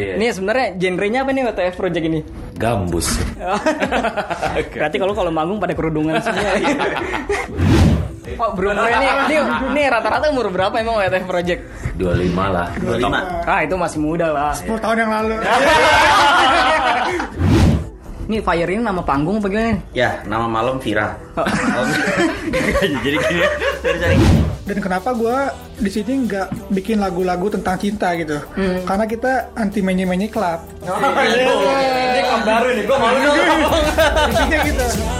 Ini sebenarnya genrenya apa nih WTF project ini? Iya. Gambus. Berarti kalau kalau manggung pada kerudungan semua. ya. Oh, Bruno ini, ini, ini rata-rata umur berapa emang WTF project? 25 lah. 25. Ah, itu masih muda lah. 10 tahun yang lalu. Ini Fire ini nama panggung apa gimana? Ya, nama malam Vira. Oh, Jadi gini. Cari-cari. Dan kenapa gue di sini nggak bikin lagu-lagu tentang cinta gitu? Karena kita anti menye-menye club. Ini baru nih, gue malu dong. Isinya gitu.